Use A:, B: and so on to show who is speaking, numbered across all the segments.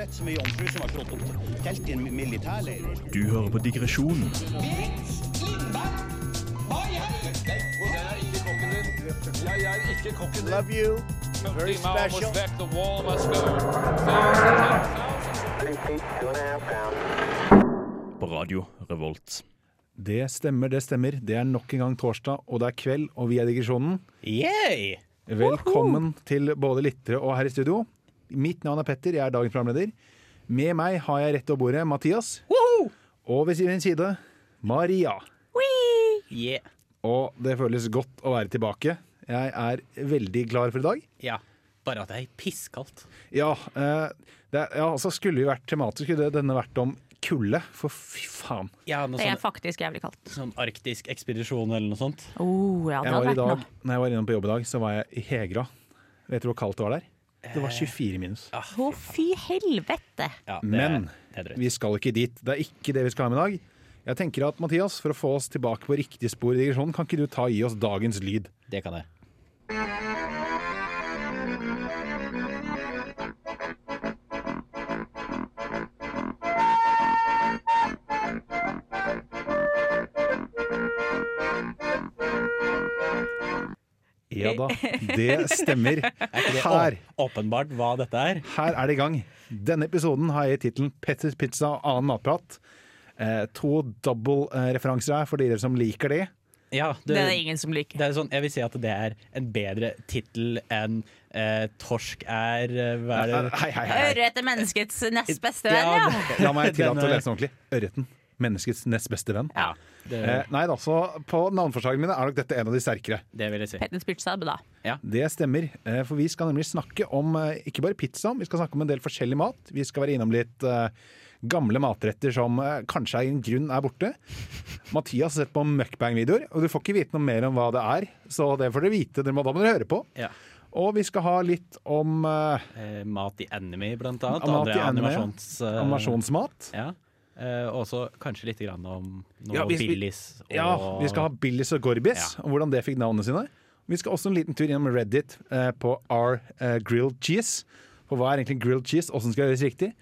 A: rett så mye jomfru som var slått opp telt i en militærleir.
B: Du hører på Digresjonen
C: Love you. Very special.
B: på Radio Revolt.
D: Det stemmer, det stemmer. Det er nok en gang torsdag, og det er kveld, og vi er Digresjonen.
E: Yay!
D: Velkommen til både lyttere og her i studio. Mitt navn er Petter, jeg er dagens programleder. Med meg har jeg rett over bordet Mathias.
E: Woohoo!
D: Og ved sin side Maria.
E: Yeah.
D: Og det føles godt å være tilbake. Jeg er veldig klar for i dag.
E: Ja. Bare at det er pisskaldt.
D: Ja, eh, det er, ja altså skulle vi vært tematisk, skulle det- denne vært om kulde. For fy faen.
E: Jeg hadde noe
F: Det er
E: sånn,
F: faktisk jævlig kaldt.
E: sånn arktisk ekspedisjon eller noe sånt.
F: Oh, ja, det
D: Jeg var,
F: hadde
D: i
F: vært
D: dag,
F: noe.
D: når jeg var innom på jobb i dag, så var jeg i Hegra. Vet du hvor kaldt det var der? Det var 24 minus.
F: Å, fy helvete!
E: Ja, Eh, det,
D: Men
E: det er drøyt.
D: vi skal ikke dit. Det er ikke det vi skal ha med i dag. Jeg tenker at Mathias, For å få oss tilbake på riktig spor, i digresjonen, kan ikke du ta i oss dagens lyd?
E: Det kan jeg.
D: Ja da, det stemmer. Her,
E: Å- Åpenbart hva dette er.
D: her er det i gang. Denne episoden har jeg tittelen 'Petters pizza og annen matprat'. Eh, to double-referanser her for dere som liker det.
E: Ja,
F: Det er det ingen som liker.
E: det er sånn, jeg vil si at det er en bedre tittel enn eh, 'Torsk er eh, Hva er det?
D: Hei, hei, hei.
F: Ørret er menneskets nest beste
E: Ja,
F: venn, ja.
E: det-
D: La meg tillate
E: Den
D: å
E: er-
D: lese den ordentlig. Ørreten. Menneskets nest beste venn.
E: Ja, det,
D: Eh, nei da, så på navneforslagene mine er nok dette en av de sterkere.
E: det vil jeg si.
F: Pettens pizza, da.
D: Det stemmer, eh, for vi skal nemlig snakke om eh, ikke bare pizza, vi skal snakke om en del forskjellig mat. Vi skal være innom litt eh, gamle matretter som eh, kanskje av en grunn er borte. Mathias har sett på mukbang-videoer, og du får ikke vite noe mer om hva det er. Så det får dere vite, dere må, da må dere høre på.
E: Ja.
D: Og vi skal ha litt om eh,
E: Eh, mat i anime, blant annet.
D: Mat i
E: Andre
D: anime, ja.
E: animasjons... eh,
D: animasjonsmat.
E: Ja. Eh, og så kanskje litt grann om noe
D: Ja, hvis vi-
E: Billies. Og,
D: Ja, vi skal ha Billis og Gorbis,
E: Ja.
D: og hvordan det fikk navnene sine. Vi skal også en liten tur innom Reddit eh, på our eh, grilled cheese. For hva er egentlig grilled cheese? Åssen skal det gjøres riktig?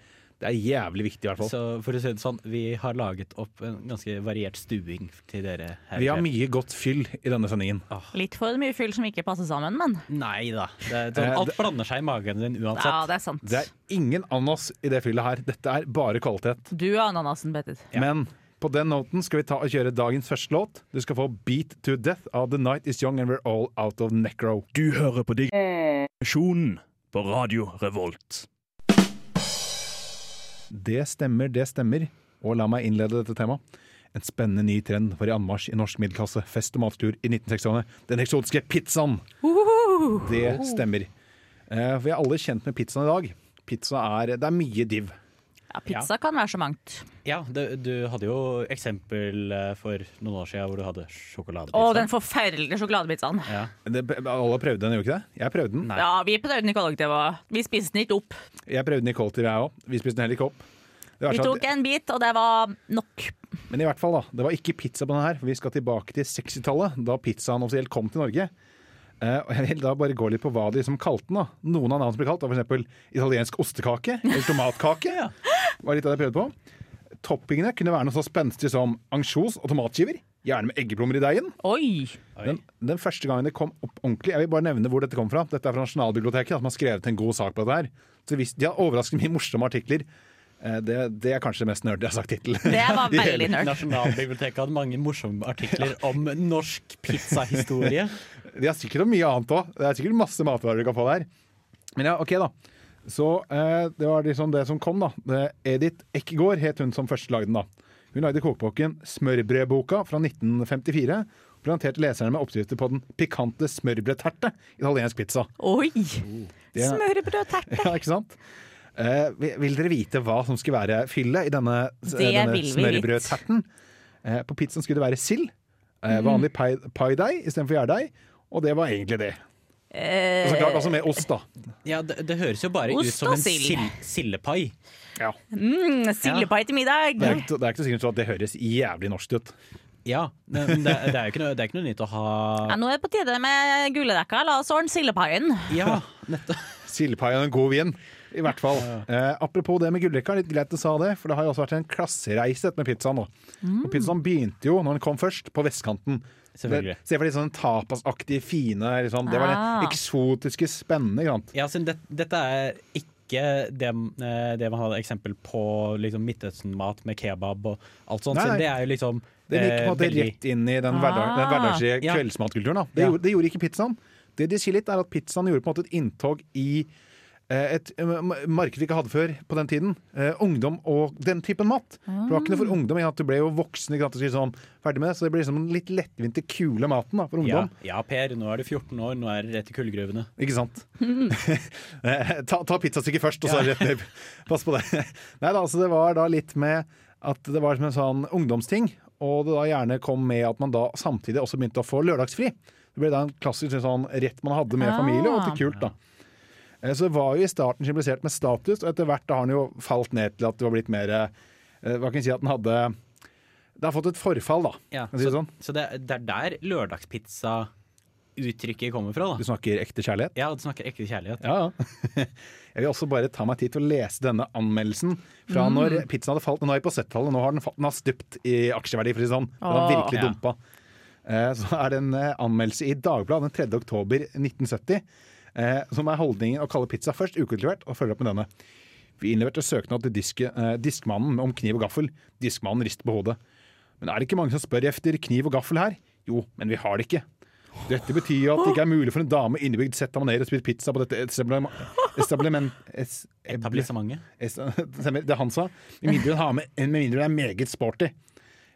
D: Det er jævlig viktig, i hvert fall.
E: Så for å si det sånn, vi har laget opp en ganske variert stuing til dere her.
D: Vi har
E: kveld.
D: mye godt fyll i denne sendingen.
F: Litt for mye fyll som ikke passer sammen, men
E: Nei da. Det er sånn,
D: Eh,
E: alt
D: det-
E: blander seg i magen din
F: ja,
E: uansett.
F: det er sant.
D: Det er ingen ananas i det fyllet her. Dette er bare kvalitet.
F: Du er ananasen, Petter.
D: Men på den noten skal vi ta og kjøre dagens første låt. Du skal få 'Beat to Death' av 'The Night Is Young and We're All Out of Necro'.
B: Du hører på Digresjonen på Radio Revolt.
D: Det stemmer, det stemmer. Og la meg innlede dette temaet. En spennende ny trend var i anmarsj i norsk middelklasse. Fest og matkultur i 1960-årene. Den eksotiske pizzaen! Det stemmer. Eh, Vi er alle kjent med pizzaen i dag. Pizza er Det er mye div.
F: Ja, pizza kan være så mangt.
E: Ja, du, du hadde jo eksempel eh, for noen år siden hvor du hadde sjokoladepizza.
F: Å, den forferdelige sjokoladepizzaen.
E: ja.
D: Det, alle prøvde den, gjorde ikke det? Jeg prøvde den.
F: Ja, vi prøvde den i kollektivet. og Vi spiste den ikke opp.
D: Jeg prøvde den i kollektiv, jeg òg. Vi spiste den heller ikke opp. Det var
F: Vi
D: sånn
F: tok
D: at,
F: en bit, og det var nok.
D: men i hvert fall da, det var ikke pizza på den her, for vi skal tilbake til 60-tallet, da pizzaen offisielt kom til Norge. Eh, og jeg vil da bare gå litt på hva de liksom kalte den. da. Noen av navnene som ble kalt, var f.eks. italiensk ostekake eller tomatkake. var litt av det jeg prøvde på. Toppingene kunne være noe så spenstig som ansjos og tomatskiver. Gjerne med eggeplommer i deigen.
F: Oi!
D: Den, den første gangen det kom opp ordentlig Jeg vil bare nevne hvor dette kom fra. Dette er fra Nasjonalbiblioteket, da, som har skrevet en god sak på dette her. Så hvis, De har overraskende mye morsomme artikler. Eh, Det, det er kanskje det mest nerd jeg har sagt hittil.
F: Det var veldig nerd.
E: Nasjonalbiblioteket hadde mange morsomme artikler om norsk pizzahistorie.
D: De har sikkert mye annet òg. Det er sikkert masse matvarer du kan få der. Men ja, OK, da. Så eh, det var liksom det som kom, da. Det- Edith Eckegård het hun som først lagde den, da. Hun lagde kokeboken Smørbrødboka fra 1954. og Presenterte leserne med oppskrifter på den pikante smørbrødterte italiensk pizza.
F: Oi!
D: Det-
F: Smørbrødterte.
D: Ja, ikke sant? Eh, vil- vil dere vite hva som skulle være fyllet i denne, denne
F: vil vi
D: smørbrødterten? Eh, på pizzaen skulle det være sild. Eh,
F: Mhm.
D: vanlig pai- paideig istedenfor gjærdeig. Og det var egentlig det.
F: Eh,
D: Og så klart altså med ost, da.
E: Ja, det, det høres jo bare ut
F: Ost
E: som
F: og
E: en
F: sild.
E: sild. sildepai.
F: Mm, Sildepai til middag.
D: Det er, ikke- det er ikke så sikkert så at det høres jævlig norsk ut.
E: Ja, men det, det, er jo ikke noe, det er ikke noe nytt å ha
F: Ja, nå er det på tide med guledekka. La oss ordne sildepaien.
E: Ja, nettopp.
D: Sildepai og en god vin. I hvert fall. Eh, apropos det med gullrekka, litt greit du sa det, for det har jo også vært en klassereise dette med pizzaen nå. Og pizzaen begynte jo, når den kom først, på vestkanten.
E: Selvfølgelig.
D: Det- Se for de sånne tapasaktige, fine liksom. Det var
F: Ah.
D: det eksotiske, spennende. Ikke sant?
E: Ja, siden det, dette er ikke det, eh, det man hadde eksempel på liksom Midtøsten-mat med kebab og alt sånt.
D: Nei,
E: siden
D: nei.
E: det er jo liksom
D: Det gikk på en
E: eh,
D: måte
E: veldig-
D: rett inn i den, hverdag, den hverdagslige
E: Ja.
D: kveldsmatkulturen. Da. Det,
E: Ja.
D: gjorde, det gjorde ikke pizzaen. Det de sier litt, er at pizzaen gjorde på en måte et inntog i eh, et eh, ma- marked vi ikke hadde før på den tiden. Eh, ungdom og den typen mat. For Det var ikke noe for ungdom. i at Du ble jo voksen ikke sant, og skulle sånn, ferdig med det. Så det ble liksom den litt lettvinte, kule maten da, for
E: ja,
D: ungdom.
E: ja, Per, nå er du 14 år, nå er det rett i kullgruvene.
D: Ikke sant? Eh, ta ta pizzastykket først, og så rett ned. Pass på det. Nei da, altså det var da litt med at det var som en sånn ungdomsting, og det da gjerne kom med at man da samtidig også begynte å få lørdagsfri. Det ble da en klassisk sånn rett man hadde med
F: Ah.
D: familie, og til kult, da. Eh, Så det var jo i starten symbolisert med status, og etter hvert da har den jo falt ned til at det var blitt mer eh, Hva kan vi si at den hadde Det har fått et forfall, da. Kan vi si
E: så
D: det sånn.
E: så det, det er der lørdagspizza-uttrykket kommer fra,
D: Du
E: da.
D: snakker ekte kjærlighet?
E: Ja, du snakker ekte kjærlighet.
D: Ja, ja. Jeg vil også bare ta meg tid til å lese denne anmeldelsen fra når pizzaen hadde falt. Nå er vi på 70-tallet, nå har den, falt, den har stupt i aksjeverdi, for å si det sånn. Den har
F: Åh.
D: virkelig
E: Ja.
D: dumpa. Eh, Så er det en eh, anmeldelse i Dagbladet den 3. oktober 1970, eh, som er holdningen å kalle pizza først ukultivert, og følger opp med denne. Vi innleverte søknad til diske, eh, diskmannen om kniv og gaffel. Diskmannen rister på hodet. Men er det ikke mange som spør efter kniv og gaffel her? Jo, men vi har det ikke. Dette betyr jo at det ikke er mulig for en dame innebygd sett av manerer å spise pizza på dette establiment... establiment es,
E: Etablissementet.
D: es, stemmer, det han sa. Med mindre hun har med, med mindre hun er meget sporty.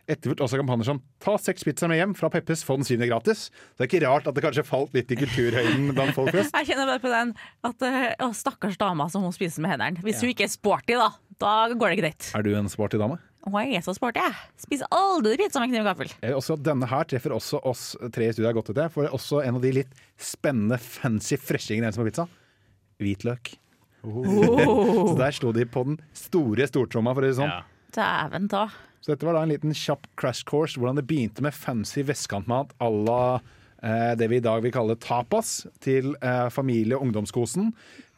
D: Etterfulgt også av kampanjer som 'Ta seks pizzaer med hjem fra Peppes, få den syvende gratis'. Så det er ikke rart at det kanskje falt litt i kulturhøyden blant folk flest.
F: Jeg kjenner bare på den at eh, å, stakkars dama som hun spiser med hendene. Hvis hun ikke er sporty, da, da går det ikke greit.
D: Er du en sporty dame?
F: Å, jeg er så sporty, jeg. Spiser aldri pizza med kniv og gaffel.
D: Jeg vil Eh, også at Denne her treffer også oss tre i studio er godt til det. For det er også en av de litt spennende, fancy freshingene i en som har pizza. Hvitløk. Så der slo de på den store stortromma, for å si det sånn.
E: Ja.
F: Dæven ta.
D: Så dette var da en liten kjapp crash course hvordan det begynte med fancy vestkantmat à la eh, det vi i dag vil kalle tapas, til eh, familie- og ungdomskosen,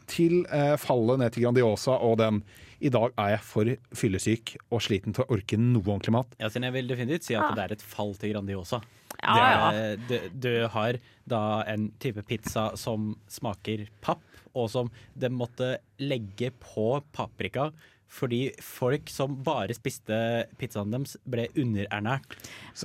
D: til eh, fallet ned til Grandiosa og den I dag er jeg for fyllesyk og sliten til å orke noe ordentlig mat.
E: Ja, siden jeg vil definitivt si at det er et fall til Grandiosa.
F: Ja,
E: det er, Du, du har da en type pizza som smaker papp, og som de måtte legge på paprika. Fordi folk som bare spiste pizzaen deres, ble underernært.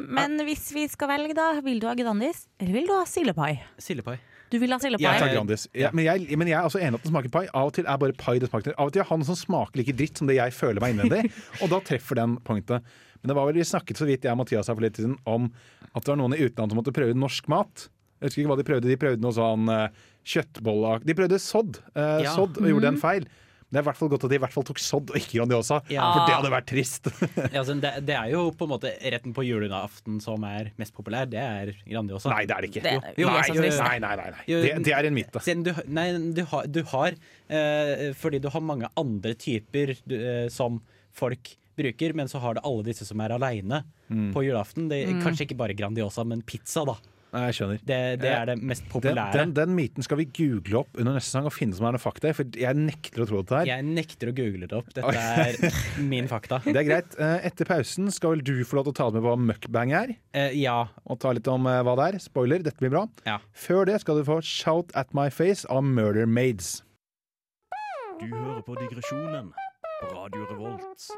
F: Men hvis vi skal velge, da, vil du ha Grandis eller vil du ha sildepai?
E: Sildepai.
F: Du vil ha
D: Jeg tar
F: sildepai?
E: Ja,
D: Grandis. Ja, men, jeg, men jeg er også enig i at den smaker pai. Av og til er bare pai det smaker. Av og til er han som smaker like dritt som det jeg føler meg innvendig. Og da treffer den pointet. Men det var vel vi snakket så vidt jeg og Mathias her for litt siden om at det var noen i utlandet som måtte prøve norsk mat. Jeg husker ikke hva de prøvde. De prøvde noe sånn eh, kjøttbolleak De prøvde sodd, eh,
E: Ja. Mm.
D: sodd og gjorde en feil. Men det er i hvert fall godt at de i hvert fall tok sodd og ikke Grandiosa,
E: Ja.
D: for det hadde vært trist.
E: Ja, altså, det, det er jo på en måte retten på julaften som er mest populær. Det er Grandiosa.
D: Nei, det er det ikke.
F: Det-
E: Jo,
D: nei,
E: jeg synes
D: nei,
E: det.
D: nei, nei, nei.
E: Jo,
D: Det, det er en myte.
E: Siden du, nei, du har, du har eh, Fordi du har mange andre typer du, eh, som folk bruker, men så har du alle disse som er aleine
D: Mm.
E: på julaften. Det, Kanskje ikke bare Grandiosa, men pizza, da.
D: Nei, jeg skjønner.
E: Det, det er det mest
D: Den,
E: populære.
D: den, den myten skal vi google opp under neste sang og finne som er noe fakta i, for jeg nekter å tro dette her.
E: Jeg nekter å google det opp. Dette er min fakta.
D: Det er greit. Eh, Etter pausen skal vel du få lov til å ta med hva mukbang er,
E: Eh, ja.
D: og ta litt om eh, hva det er. Spoiler, dette blir bra.
E: ja.
D: Før det skal du få Shout At My Face av Murder Maids.
B: Du hører på digresjonen på Radio Revolt.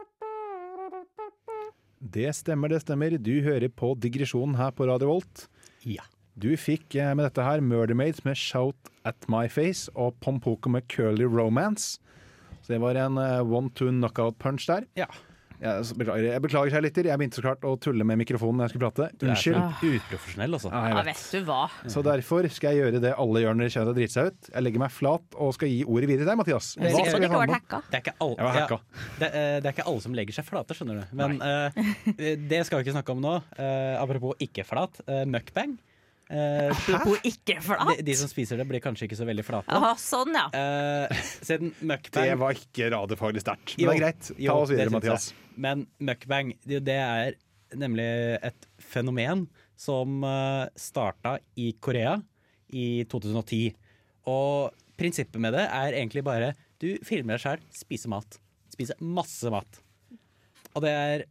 D: Det stemmer, det stemmer. Du hører på digresjonen her på Radio Volt.
E: ja.
D: Du fikk eh, med dette her Murder Maids med Shout At My Face og Pompoko med Curly Romance. Så det var en eh, one-two knockout punch der.
E: ja.
D: Jeg s- beklager, jeg beklager kjære lytter. Jeg begynte så klart å tulle med mikrofonen når jeg skulle prate. Unnskyld.
E: Uprofesjonell, altså.
D: Ja, jeg
F: Ja,
D: vet.
F: vet du hva.
D: Så derfor skal jeg gjøre det alle gjør når de kjenner at de driter seg ut. Jeg legger meg flat og skal gi ordet videre til deg, Mathias.
F: Jeg er
D: Hva
F: sikker på
D: skal vi
F: at det ikke
D: handle
F: har vært
D: om?
F: hacka.
E: Det er, ikke alle,
D: Jeg var hacka.
E: det, eh, det er ikke alle som legger seg flate, skjønner du. Men eh, det skal vi ikke snakke om nå. Eh, apropos ikke flat, uh, mukbang. Eh,
F: Apropos ikke
E: de,
F: flat.
E: de som spiser det, blir kanskje ikke så veldig flate.
F: Jaha, sånn, ja.
E: Eh, siden mukbang
D: Det var ikke radiofaglig sterkt. Men det er
E: Jo,
D: greit.
E: jo,
D: Ta oss
E: det
D: videre,
E: syns jeg.
D: Mathias.
E: Men mukbang, det, det er nemlig et fenomen som eh, starta i Korea i 2010. Og prinsippet med det er egentlig bare Du filmer deg sjæl, spiser mat. Spiser masse mat. Og det er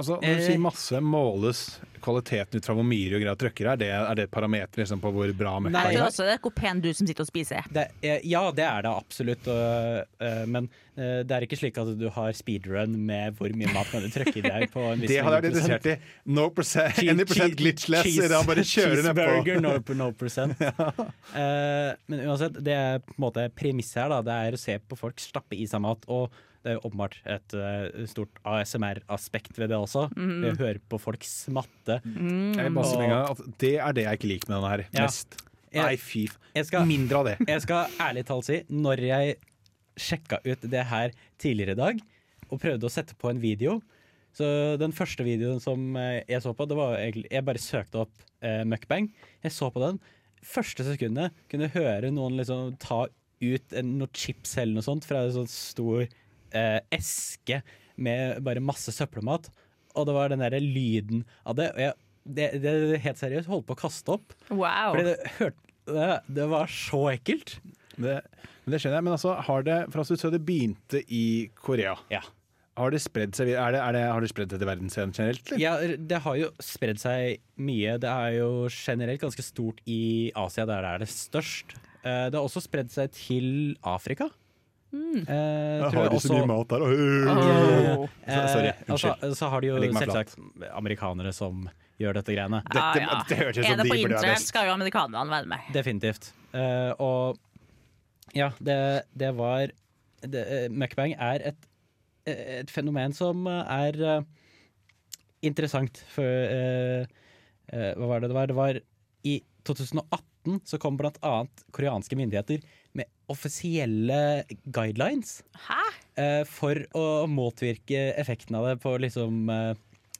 D: Altså, Når du
E: Eh.
D: sier masse, måles kvaliteten ut fra hvor mye og greier trøkker er? Det, er det et parameter liksom, på hvor bra møkka
E: Nei,
D: er?
F: Det er også det er hvor pen du som sitter og spiser.
E: det, er- ja, det er det absolutt, øh, øh, men øh, det er ikke slik at du har speedrun med hvor mye mat kan du trykke i deg. på en viss
D: Det hadde jeg vært
E: prosent.
D: interessert i. No percent, any percent glitchless.
E: Cheese-
D: det er bare kjører nedpå.
E: Cheeseburger, no, no percent. Eh, men uansett, det er på en måte premisset her. Da. Det er å se på folk stappe i seg mat. Og det er jo åpenbart et eh, stort ASMR-aspekt ved det også. Vi hører på folk smatte.
D: Jeg vil bare si med en gang at Det er det jeg ikke liker med denne her.
E: Mm. Ja.
D: Mest.
E: Jeg-
D: Nei, fy. f-
E: Jeg skal-
D: Mindre av det.
E: Jeg skal ærlig talt si, når jeg sjekka ut det her tidligere i dag, og prøvde å sette på en video Så den første videoen som eh, jeg så på, det var egentlig Jeg bare søkte opp eh, mukbang. Jeg så på den. Første sekundet kunne jeg høre noen liksom ta ut en, noe chips eller noe sånt fra en sånn stor eh, eske med bare masse søppelmat. Og det var den derre lyden av det. Og jeg, det, det, det helt seriøst holdt på å kaste opp.
F: Wow.
E: Fordi det, hørte, det, det var så ekkelt.
D: det. Men det skjønner jeg. Men altså, har det Fra så det begynte i Korea,
E: Ja.
D: har det spredd seg vid- er det, er det, har det spredd seg til verdensscenen generelt? eller?
E: det har jo spredd seg mye. Det er jo generelt ganske stort i Asia, der det er det størst. Eh, Det har også spredd seg til Afrika. Eh, tror jeg også-
D: mat der.
E: Eh,
D: Sorry,
E: og
F: altså,
E: så-
D: unnskyld.
E: Så har de jo
D: Jeg legger meg flat.
E: selvsagt amerikanere som gjør dette greiene.
F: Ja,
D: Dette-
F: ja.
D: dette høres ut som
F: er det
D: de
F: på
D: burde være
F: internett,
D: best.
F: skal jo amerikanerne være med.
E: Definitivt. Eh, og ja, det, det var det, eh, Mukbang er et, eh, et fenomen som eh, er eh, interessant for eh, eh, Hva var det det var? Det var i 2018 så kom blant annet koreanske myndigheter med offisielle guidelines
F: Hæ?
E: eh, for å motvirke effekten av det på liksom eh,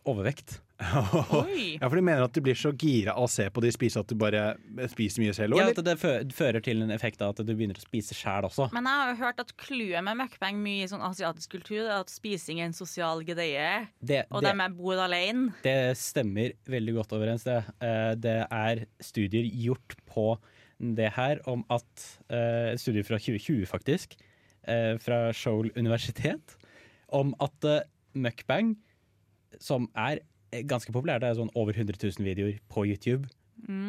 E: overvekt.
F: Oi.
D: Ja, for de mener at du blir så gira av å se på de spise at du bare spiser mye selv òg,
E: Ja,
D: eller?
E: at det fø- fører til en effekt av at du begynner å spise sjæl også.
F: Men jeg har jo hørt at clouet med mukbang mye i sånn asiatisk kultur er at spising er en sosial greie,
E: Det,
F: og
E: det-
F: dem er bor alene.
E: Det stemmer veldig godt overens. Det, Eh, det er studier gjort på det her om at eh, Studier fra 2020, faktisk, eh, fra Seoul universitet, om at eh, mukbang, som er eh, ganske populær, det er sånn over 100 000 videoer på YouTube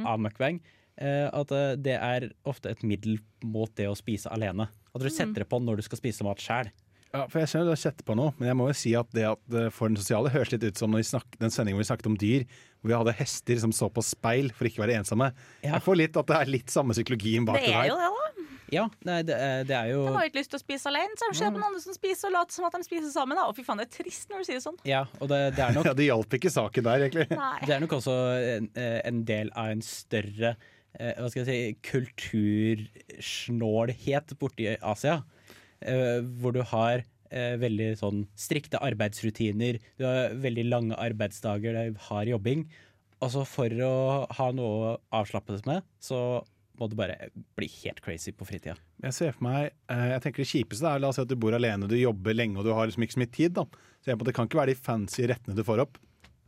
E: av mukbang, eh, at eh, det er ofte et middel mot det å spise alene. At du setter det på når du skal spise mat sjæl.
D: Ja, for jeg skjønner du har sett på noe, men jeg må jo si at det at det for den sosiale høres litt ut som når vi snakk, den sendingen hvor vi snakket om dyr, hvor vi hadde hester som så på speil for ikke å være ensomme.
E: Ja.
D: Jeg får litt at det er litt samme psykologien bak
F: Det
D: det,
F: er jo
D: her.
F: det, da.
E: Ja, nei, det, er- det er jo
F: Jeg har ikke lyst til å spise alene, så jeg ser på noen andre som spiser og later som at de spiser sammen. Da. Å, fy faen, det er trist når du sier det sånn.
E: Ja, og det, det er nok
D: Ja, det hjalp ikke saken der, egentlig.
E: Det
F: Nei.
E: er nok også en, eh, en del av en større eh, hva skal jeg si, kultursnålhet borti Asia. eh, Hvor du har eh, veldig sånn strikte arbeidsrutiner, du har veldig lange arbeidsdager, det er hard jobbing. Altså for å ha noe å avslappe seg med, så må du bare bli helt crazy på fritida.
D: Jeg ser for meg, eh, jeg tenker det kjipeste er, la oss si at du bor alene, du jobber lenge og du har liksom ikke så mye tid da. Så jeg på at det kan ikke være de fancy rettene du får opp.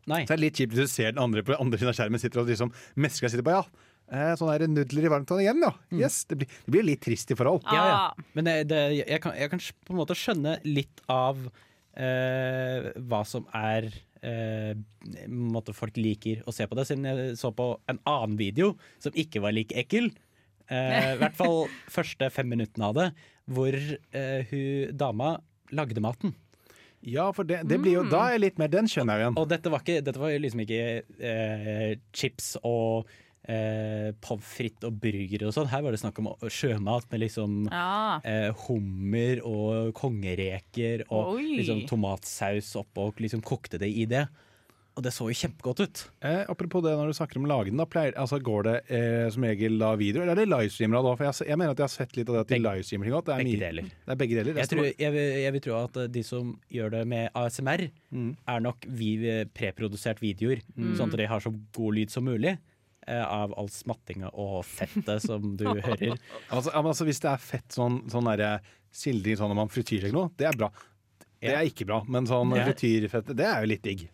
E: Nei.
D: Så er det litt kjipt hvis du ser den andre på den andre siden av skjermen sitter og liksom mesker og sitter på, ja, eh, sånn er det nudler i varmt igjen, ja. Yes, det blir, det blir litt trist i forhold.
E: Ja,
F: Ah.
E: ja. Men det, det, jeg, kan, jeg kan på en måte skjønne litt av eh, hva som er eh, på en måte folk liker å se på det, siden jeg så på en annen video som ikke var like ekkel. Eh, I hvert fall første fem minuttene av det, hvor eh, hun dama lagde maten.
D: Ja, for det, det blir jo, da er jeg litt mer, den skjønner jeg jo igjen.
E: Og dette var, ikke, dette var liksom ikke eh, chips og eh, pommes frites og burger og sånn. Her var det snakk om sjømat med liksom
F: Ja.
E: eh, hummer og kongereker og
F: Oi.
E: liksom, tomatsaus oppå og liksom kokte det i det. Og det så jo kjempegodt ut.
D: Eh, apropos det når du snakker om lagene, da pleier, altså går det eh, som regel da video, eller er det livestreamere da? For jeg, har- jeg mener at jeg har sett litt av det at de
E: Begge-
D: livestreamer ting godt. Det er
E: begge
D: mye-
E: deler.
D: Det er begge deler.
E: Jeg,
D: Det er
E: tror, jeg, vil- jeg vil tro at eh, de som gjør det med ASMR, er nok vi eh, preprodusert videoer,
F: Mm.
E: sånn at de har så god lyd som mulig. eh, Av all smattinga og fettet som du hører.
D: stor- Altså, ja, men altså, hvis det er fett sånn, sånn der, sildring sånn når man frityrer eller noe, det er bra. Det
E: Ja.
D: er ikke bra, men sånn
E: Ja.
D: frityrfett, det er jo litt digg.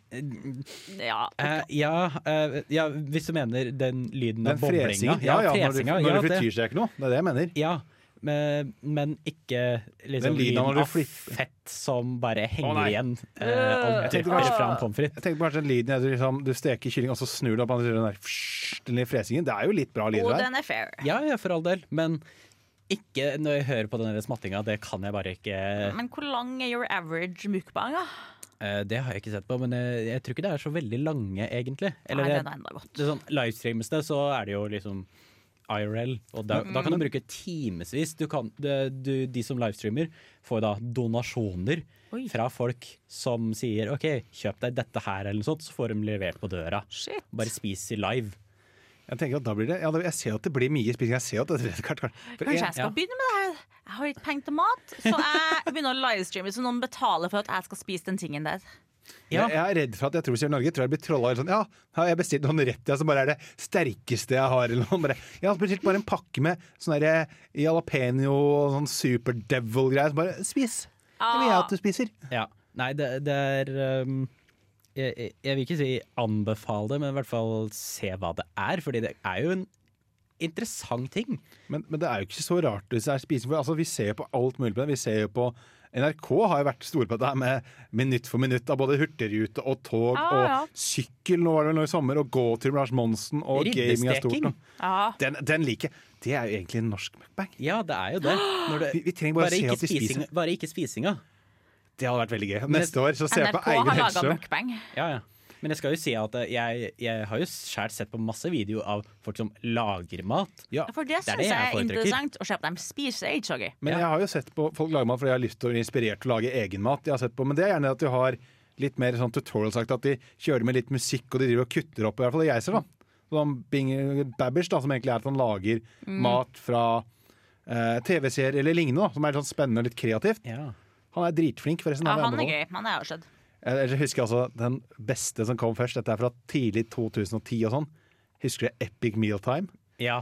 F: ja.
E: Eh, ja, eh, ja, hvis du mener den lyden
D: Den
E: av boblinga.
D: fresinga. Ja, ja, når du,
E: fresinga,
D: når
E: ja,
D: du
E: det-
D: frityrer seg ikke noe, det er det jeg mener.
E: Ja, men, men ikke
D: Den
E: liksom
D: lyden
E: lyden
D: når du
E: av
D: flipper.
E: fett som bare henger
D: nei.
E: igjen eh, og
D: Jeg tenkte
E: drypper
D: kanskje-
E: fra en pommes frites.
D: Jeg tenkte bare den lyden du, liksom, du steker kylling, og så snur du opp og så gjør den der fsj, den lille fresingen. Det er jo litt bra lyd
F: Og
D: der.
F: den er fair.
E: Ja, ja, for all del, men ikke når jeg hører på den der smattinga. Det kan jeg bare ikke
F: Men hvor lang er your average mukbang, da?
E: eh, Det har jeg ikke sett på, men jeg, jeg tror ikke det er så veldig lange, egentlig. Eller
F: Nei,
E: jeg-
F: den er enda godt.
E: det er sånn livestreames det, så er det jo liksom IRL, og da, da
F: Mm.
E: kan du bruke timevis. Du kan, det, du, de som livestreamer, får da donasjoner
F: Oi.
E: fra folk som sier OK, kjøp deg dette her, eller noe sånt, så får de levert på døra.
F: Shit.
E: Bare spis i live.
D: Jeg tenker at da blir det, ja, da- jeg ser at det blir mye spising. Jeg ser at det er kart, kart. For
F: Kanskje
D: en-
F: jeg
E: ja.
F: skal begynne med det her. Jeg har ikke penger til mat, så jeg begynner å livestreame så noen betaler for at jeg skal spise den tingen der.
E: Ja.
D: Jeg jeg er redd for at jeg tror selv Norge tror jeg blir trolla. eller Sånn, ja, her har jeg bestilt noen rett ja, som bare er det sterkeste jeg har. Eller noe. Bare, jeg har bestilt bare en pakke med sånn derre jalapeño og sånn super devil-greier. Så bare spis! Det vil jeg at du spiser.
E: ja. Nei, det, det er um, jeg, jeg- jeg vil ikke si anbefale det, men i hvert fall se hva det er, fordi det er jo en interessant ting.
D: Men, men det er jo ikke så rart hvis det er spising. For altså, vi ser jo på alt mulig på det. Vi ser jo på NRK har jo vært store på dette her med minutt for minutt av både hurtigrute og tog
F: Ja, ja.
D: og sykkel nå var det vel nå i sommer, og gåtur med Lars Monsen og gaming er stort nå.
E: Ribbesteking.
F: Ja.
D: Den, den liker jeg. Det er jo egentlig en norsk mukbang.
E: Ja, det er jo det. Når det
D: Vi- vi trenger bare å se
E: ikke
D: at vi spiser.
E: spising- Bare ikke spisinga.
D: Det hadde vært veldig gøy. Neste år så ser jeg på
F: NRK
D: Eivind
F: har laga
D: Hellstrøm.
F: mukbang.
E: Ja, ja. Men jeg skal jo si at eh, jeg, jeg har jo sjæl sett på masse video av folk som lager mat.
F: For det
E: er
F: syns jeg er
E: foretrekker.
F: interessant å se på dem spise. Det er ikke så gøy.
D: Men
E: Ja.
D: jeg har jo sett på folk lage mat fordi jeg har lyst til å bli inspirert til å lage egen mat. Jeg har sett på, men det er gjerne at du har litt mer sånn tutorial-sagt, at de kjører med litt musikk og de driver og kutter opp, i hvert fall det jeg ser, da. Sånn Bing- Babbage, da, som egentlig er at han lager
F: Mm.
D: mat fra eh, TV-serier eller lignende, da, som er litt sånn spennende og litt kreativt.
E: Ja.
D: Han er dritflink, forresten.
F: Ja,
D: vil jeg
F: han er
D: anbefale.
F: gøy. Han er avskjedd.
D: Jeg jeg husker altså den beste som kom først, dette er fra tidlig 2010 og sånn. Husker du Epic Mealtime?
E: ja.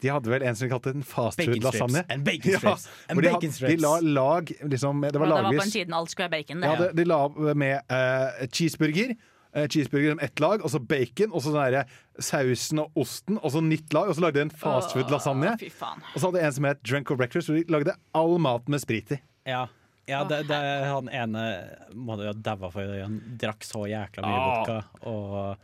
D: De hadde vel en som de kalte en fast
E: Bacon
D: food lasagne.
E: strips. En bacon strips. En
D: hvor de,
E: bacon
D: had-
E: strips.
D: de la lag liksom, Det var
F: Og det var på den
D: lagvis.
F: tiden alt skulle være bacon. Det.
D: Ja, de, de la opp med eh, cheeseburger. eh, Cheeseburger som ett lag, og så bacon, og så den derre sausen og osten, og så nytt lag. Og så lagde de en fastfood-lasagne.
F: Å, fy faen.
D: Og så hadde de en som het Drunk of Breakfast, hvor de lagde all maten med sprit i.
E: ja. Ja, det, det, han ene må du jo ha daua for. Han drakk så jækla mye vodka. Og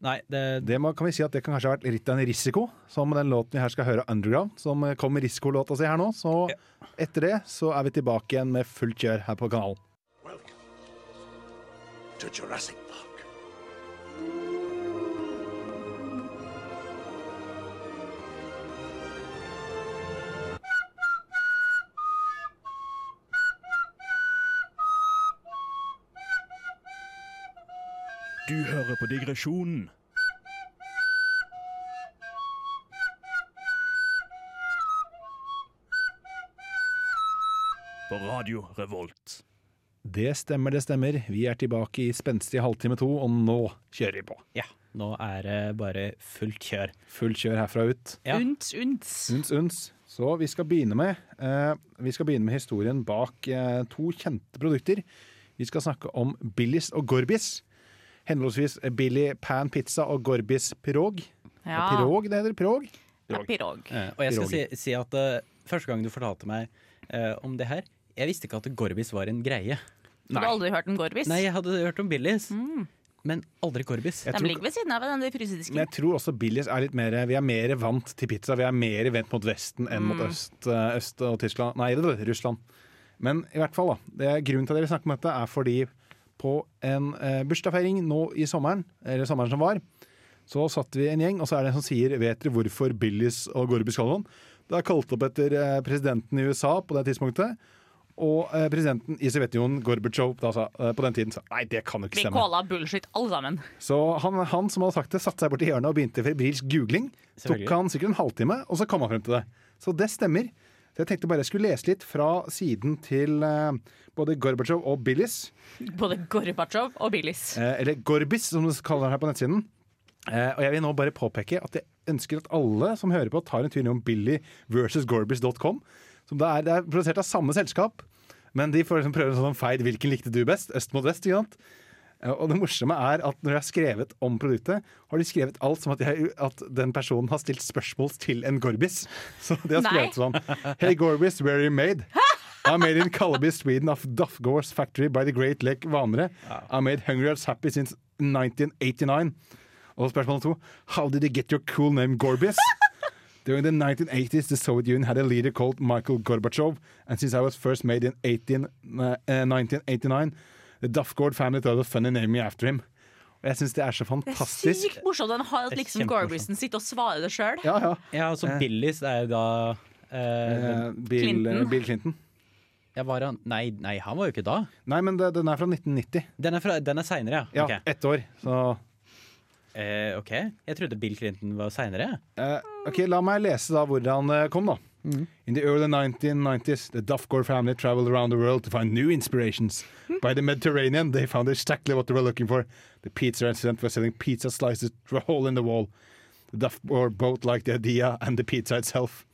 E: Nei, det,
D: Det må, kan vi si at det kan kanskje ha vært litt av en risiko, som den låten vi her skal høre, Underground, som eh, kom med risikolåta si her nå. Så etter det så er vi tilbake igjen med fullt kjør her på kanalen.
G: Welcome to Jurassic Park.
B: Du hører på digresjonen. På Radio Revolt.
D: Det stemmer, det stemmer. Vi er tilbake i spenstig halvtime to, og nå kjører vi på.
E: ja, nå er det bare fullt kjør.
D: Fullt kjør herfra ut.
E: Ja.
F: Unts, unts.
D: Uns, uns. Så vi skal begynne med, eh, vi skal begynne med historien bak eh, to kjente produkter. Vi skal snakke om Billis og Gorbis. Henholdsvis Billy Pan Pizza og Gorbis Pirog.
F: Ja.
D: Pirog, det heter pirog.
F: Ja, pirog.
E: Eh, Og jeg skal si, si at eh, første gang du fortalte meg eh, om det her, jeg visste ikke at Gorbis var en greie.
F: Du har aldri hørt en Gorbis?
E: Nei, jeg hadde hørt om Billies,
F: Mm.
E: men aldri Gorbis.
D: Jeg
F: De
D: tror-
F: ligger ved siden av den der
D: Men
F: frysedisken.
D: jeg tror også Billis er litt mer Vi er mer vant til pizza. Vi er mer vendt mot Vesten enn mot øst, eh, øst og Tyskland. Nei, det var Russland. Men i hvert fall, da. Det er grunnen til at dere snakker om dette, er fordi på en eh, bursdagsfeiring nå i sommeren, eller sommeren som var, så satt vi en gjeng, og så er det en som sier Vet dere hvorfor Billis og Gorby skal ha noen? Det er kalt opp etter eh, presidenten i USA på det tidspunktet. Og eh, presidenten i Sovjetunionen, Gorbatsjov, da sa, eh, på den tiden sa nei, det kan jo ikke
F: Vi
D: stemme.
F: kåla bullshit alle sammen.
D: Så han, han som hadde sagt det, satte seg bort i hjørnet og begynte febrilsk googling. Tok
E: Selvfølgelig.
D: han sikkert en halvtime, og så kom han frem til det. Så det stemmer. Så jeg tenkte bare jeg skulle lese litt fra siden til eh, både Gorbatsjov og Billis.
F: Både Gorbatsjov og Billis.
D: Eh, eller Gorbis, som de kaller den her på nettsiden. Eh, og jeg vil nå bare påpeke at jeg ønsker at alle som hører på, tar en tur innom Billy versus Gorbis.com. Som det er, det er produsert av samme selskap, men de får liksom prøve en sånn feid hvilken likte du best, øst mot vest. Ikke sant? Eh, Og det morsomme er at når jeg har skrevet om produktet, har de skrevet alt som at, jeg, at den personen har stilt spørsmål til en Gorbis. Så de har skrevet sånn Hey Gorbis, where are you made? I'm made in Kalleby, Sweden of Duffgores factory by the Great Lake Vanere. I made Hungry as Happy since 1989. Og spørsmål to How did you get your cool name Gorbis? During the 1980s, the Soviet Union had a leader called Michael Gorbachev, and since I was first made in 18, uh, uh, 1989, the Duffgord family thought of funny naming me after him. Og jeg syns det er så
F: Det er
D: Eh, fantastisk.
F: sykt morsomt den har, at
E: Det er
F: liksom
E: kjempemorsomt.
F: Gorbisen sitter og svarer det sjøl.
D: Ja, ja.
E: Ja, altså Billies er jo da eh,
D: Eh, Bill,
F: Clinton.
D: Bill Clinton.
E: ja, var han? Nei, nei, han var jo ikke da.
D: Nei, men det, den er fra 1990.
E: Den er, fra- den er seinere,
D: Ja,
E: ja. Ok.
D: ett år. Så
E: Eh, OK. Jeg trodde Bill Clinton var seinere.
D: Eh, ok, La meg lese da hvor han eh, kom, da. In the early 1990s, the Duffgore family traveled around the world to find new inspirations. By the Mediterranean, they found exactly what they were looking for. The pizza restaurant was selling pizza slices through a hole in the wall. The Duffgore both liked the idea and the pizza itself.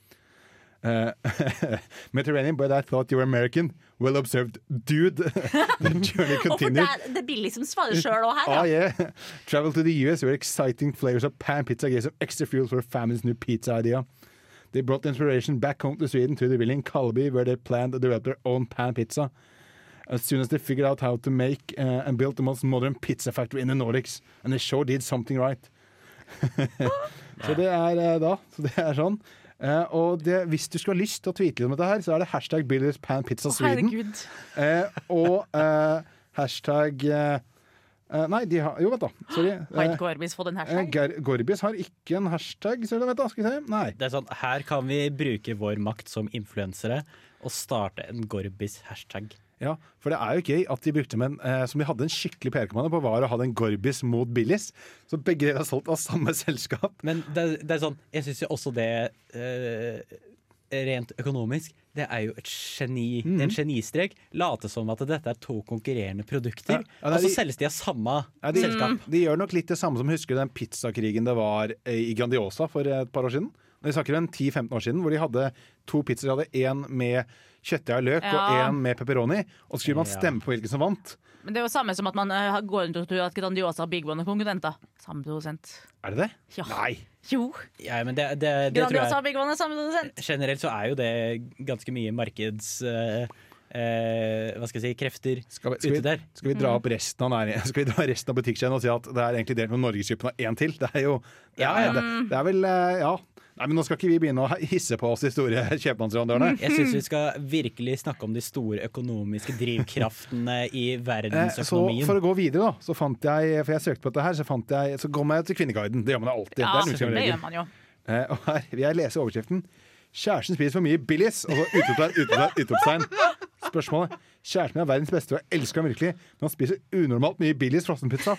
D: Uh, Mediterranean, but I thought you were American. Well observed, dude. the journey
F: Og for
D: continued.
F: det, er- det er Billy som svarer sjøl òg her,
D: Ah,
F: ja.
D: yeah. Travel to the US where exciting flavors of pan pizza gave some extra fuel for family's new pizza idea. They brought the inspiration back home to Sweden to the village in Kalby where they planned to develop their own pan pizza. As soon as they figured out how to make uh, and built the most modern pizza factory in the Nordics, and they sure did something right. så det er eh, da. Så det er sånn. Eh, og det, hvis du skulle ha lyst til å tweete litt om dette, her, så er det hashtag Billys Pan Pizza
F: Å,
D: Sweden.
F: herregud.
D: Eh, og eh, hashtag eh, eh, Nei, de har Jo, vent, da. Sorry.
F: Har
D: Eh,
F: ikke Gorbis fått den her
D: eh,
F: sjøl?
D: Ger Gorbis har ikke en hashtag, ser du. Vent, da. Skal vi se. Nei.
E: Det er sånn, Her kan vi bruke vår makt som influensere og starte en Gorbis-hashtag.
D: Ja, For det er jo gøy at de brukte menn eh, som de hadde en skikkelig PR-kommando på, var å ha den Gorbis mot Billis. Så begge deler er solgt av samme selskap.
E: Men det, er- det er sånn, jeg syns jo også det eh, Rent økonomisk, det er jo et geni, det er
D: Mhm.
E: en genistrek. Late som at dette er to konkurrerende
D: Ja, ja,
E: produkter,
D: det er
E: og så
D: de-
E: selges de av samme
D: Nei, de,
F: Mm.
E: selskap.
D: de gjør nok litt det samme som husker den pizzakrigen det var eh, i Grandiosa for eh, et par år siden. Vi snakker om 10-15 år siden, hvor de hadde to pizzaer. De hadde én med kjøttdeig og løk og
F: Ja.
D: én med pepperoni. Og så skulle man
E: Ja.
D: stemme på hvilken som vant.
F: Men det er jo samme som at man eh, har- går rundt og tror at Grandiosa og Big One er konkurrenter. Samme produsent.
D: Er det det?
F: Ja.
D: Nei.
F: Jo.
E: Ja, men altså, det, det, det tror
F: Grandiosa
E: jeg
F: og Big One er samme produsent.
E: Generelt så er jo det ganske mye markeds... eh, eh, hva skal jeg si krefter
D: Skal vi, skal
E: ute
D: vi,
E: der.
D: skal vi dra
F: Mm.
D: opp resten av, næring- skal vi dra resten av butikkjeden og si at det er egentlig delt med Norgesgruppen og én til? Det er jo det er, det, det er vel eh, Ja. Nei, men nå skal ikke vi begynne å hisse på oss de store
F: Mm.
D: kjøpmannsleverandørene.
E: Jeg syns vi skal virkelig snakke om de store økonomiske drivkraftene i
D: Eh, Så
E: verdensøkonomien.
D: for å gå videre, da, så fant jeg For jeg søkte på dette her, så fant jeg Så kom jeg til Kvinneguiden. Det gjør man alltid.
F: Ja,
D: det er en uskreven
F: det
D: regel.
F: gjør man jo.
D: Eh, og her vil jeg lese overskriften. Kjæresten spiser for mye Billies. Og så utropstegn, utropstegn, utropstegn. Spørsmålet. Kjæresten min er verdens beste, og jeg elsker ham virkelig, men han spiser unormalt mye Billies frossenpizza.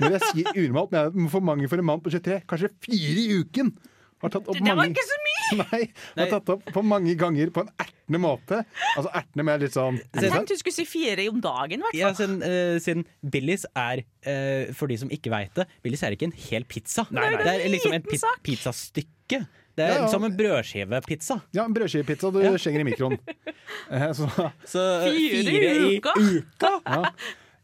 D: Når jeg sier unormalt, mener jeg for mange for en mann på 23, kanskje fire i uken. Har tatt opp
F: Det var
D: mange-
F: ikke så mye!
D: Nei,
E: Nei.
D: har tatt opp for mange ganger på en ertende måte. Altså ertende med litt sånn
F: Jeg tenkte du skulle si fire om dagen, i hvert fall.
E: Ja, siden, eh, siden Billies er, eh, for de som ikke veit det, Billies er ikke en hel pizza.
F: nei.
E: Det er liksom en
F: Liten
E: pi
F: sak.
E: pizzastykke. Det er
D: Ja, ja.
E: som en brødskivepizza.
D: Ja, en brødskivepizza du skjenger i mikroen. Eh, så
E: Så
F: Fire i uka.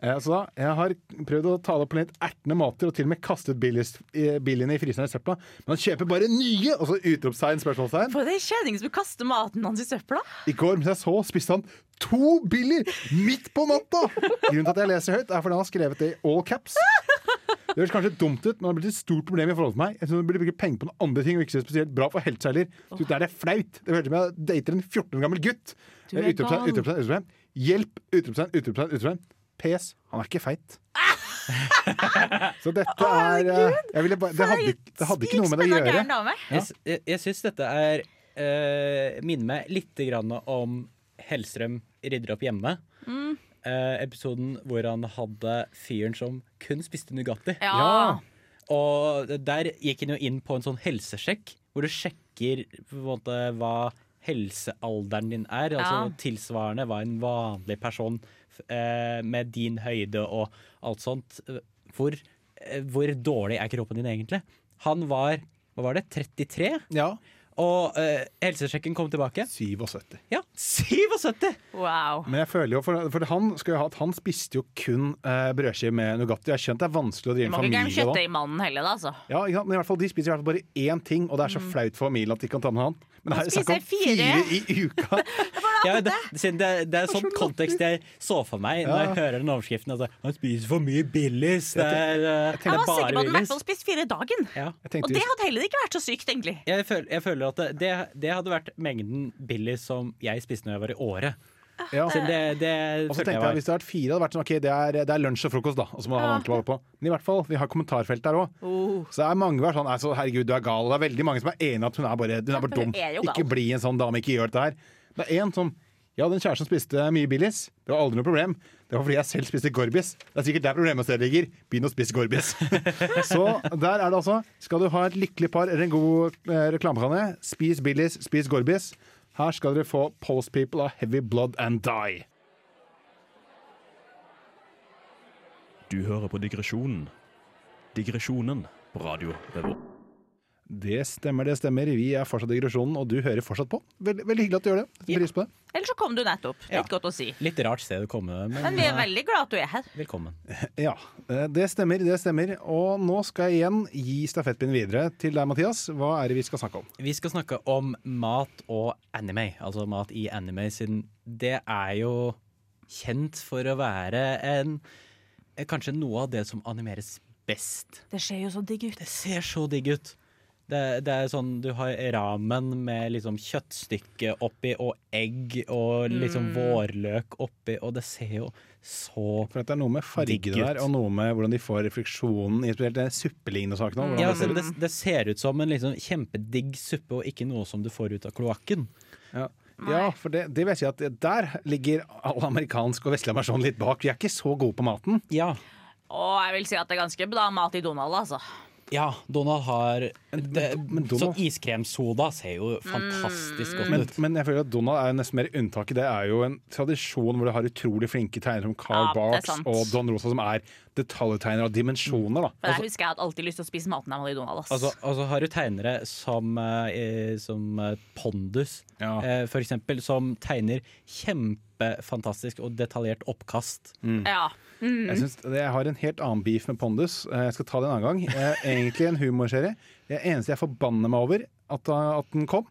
D: Eh, Så da, jeg har prøvd å tale på litt ertende måter og til og med kastet billigst- eh, billigene i fryseren i søpla. Men han kjøper bare nye! Og så utropstegn, spørsmålstegn.
F: For det er kjerring som kaster maten hans i søpla.
D: I går mens jeg så, spiste han to billier midt på natta! Grunnen til at jeg leser høyt, er fordi han har skrevet det i all caps. Det høres kanskje dumt ut, men det har blitt et stort problem i forhold til meg. Jeg synes jeg burde bruke penger på noen andre ting og ikke så spesielt bra for helsa heller. Så det er det flaut. Det høres ut som jeg dater en 14 år gammel gutt.
F: Du er
D: Eh, Utropstegn,
F: gal.
D: utropstegn, utropstegn. Hjelp! Utropstegn, utropstegn, utropstegn. PS. Han er ikke feit. Så dette er eh, jeg ville bare, det, hadde, ikke- det hadde ikke noe med det å
F: Spikspennende
D: gjøre.
F: gæren dame.
E: Jeg, s- jeg, jeg syns dette er eh, Minner meg litt grann om Hellstrøm rydder opp hjemme.
F: Mm.
E: Eh, episoden hvor han hadde fyren som kun spiste Nugatti.
F: Ja.
E: Og der gikk han jo inn på en sånn helsesjekk, hvor du sjekker på en måte hva helsealderen din er.
F: Ja.
E: Altså tilsvarende hva en vanlig person eh, med din høyde og alt sånt eh, hvor, eh, hvor dårlig er kroppen din egentlig? Han var hva var det, 33?
D: Ja.
E: Og eh, helsesjekken kom tilbake.
D: 77.
E: Ja, 77!
F: Wow.
D: Men jeg føler jo, for, for han skal jo ha at han spiste jo kun eh, brødskive med Nugatti. Jeg har skjønt det er vanskelig å drive
F: Du
D: en
F: må ikke
D: familie sånn.
F: glemme
D: da.
F: kjøttdeigmannen heller, da. altså.
D: Ja, ikke sant? men i hvert fall, De spiser i hvert fall bare én ting, og det er så flaut for familien at de kan ta med han. Men her er det snakk om
F: Mm. spiser
D: fire i uka!
E: Ja, det, siden det, det er sånn kontekst jeg så for meg når jeg hører den overskriften. Altså, han spiser for mye Billies. Det er, eh, det
F: Jeg
E: er
F: var sikker på
E: bare
F: at den i hvert
E: Billies.
F: fall spiste fire i dagen.
E: Ja.
D: Jeg
F: Og
D: tenkte
F: det
D: jo-
F: hadde heller ikke vært så sykt, egentlig.
E: Jeg føler, jeg føler at det, det, det hadde vært mengden Billies som jeg spiste når jeg var i året.
D: ja.
E: Siden det, det
D: Og så
E: følte
D: tenkte
E: jeg
D: jeg,
E: var
D: Hvis det hadde vært fire, hadde det vært sånn, ok, det er, det er lunsj og frokost. da Og så må han ha ordentlig vare på Men i hvert fall, vi har kommentarfelt der òg.
F: Oh.
D: Så det er mange som er sånn altså, herregud, du er gal. Det er veldig mange som er enig i at hun er bare, hun er
F: men
D: bare dum.
F: hun er jo gal.
D: ikke bli en sånn dame, ikke gjør dette her. Det er én som ja, den kjæresten spiste mye Billies. Det var aldri noe problem. Det var fordi jeg selv spiste Gorbis. Det er sikkert der problemet stedet ligger. Begynn å spise Gorbis. Så der er det altså. Skal du ha et lykkelig par eller en god eh, reklamekanne, spis Billies, spis Gorbis. Her skal dere få Post People av Heavy Blood and Die.
B: Du hører på digresjonen. Digresjonen på Radio Revolt.
D: Det stemmer, det stemmer. Vi er fortsatt i digresjonen, og du hører fortsatt på. Veldig, veldig hyggelig at du gjør det. Setter pris på det.
F: Eller så kom du nettopp. Det er
E: Ja.
F: ikke godt å si.
E: litt rart sted å komme, men
F: Men vi er veldig glad at du er her.
E: velkommen.
D: Ja, eh, det stemmer, det stemmer. Og nå skal jeg igjen gi stafettpinnen videre til deg, Mathias. Hva er det vi skal snakke om?
E: Vi skal snakke om mat og anime, altså mat i anime, siden det er jo kjent for å være en eh, Kanskje noe av det som animeres best.
F: Det ser jo så digg ut.
E: Det ser så digg ut. Det, det er sånn du har ramen med liksom kjøttstykke oppi og egg og liksom vårløk oppi, og det ser jo så
D: For at det er noe med fargene
E: Digg ut.
D: der, og noe med hvordan de får refleksjonen i spesielt den suppelignende saken. og hvordan
E: ja,
D: det
E: så
D: ser ut.
E: det, det ser ut som en liksom kjempedigg suppe, og ikke noe som du får ut av kloakken.
D: Ja. ja, for det, det vil jeg si at der ligger all amerikansk og vestlig versjon litt bak. Vi er ikke så gode på maten.
E: Ja.
F: Og jeg vil si at det er ganske bra mat i Donald, altså.
E: Ja, Donald har det,
D: men Donald-
E: Sånn iskremsoda ser jo fantastisk
D: Men,
E: godt ut.
D: men jeg føler at Donald er nesten mer unntaket. Det er jo en tradisjon hvor du har utrolig flinke tegnere som Carl
F: Ja, det er
D: Barks
F: sant.
D: og Don Rosa, som er detaljtegnere av dimensjoner. da.
F: Men der husker jeg at jeg alltid lyst til å spise maten jeg hadde i Donald. ass.
E: Altså, altså har du tegnere som, eh, som eh, Pondus,
D: Ja.
E: eh, for eksempel, som tegner kjempefantastisk og detaljert oppkast.
D: Mm.
F: Mm. Ja.
D: Jeg, synes, jeg har en helt annen beef med Pondus. Eh, Jeg skal ta det en annen gang. Eh, Egentlig en humorserie. Det eneste jeg forbanner meg over at, eh, at den kom,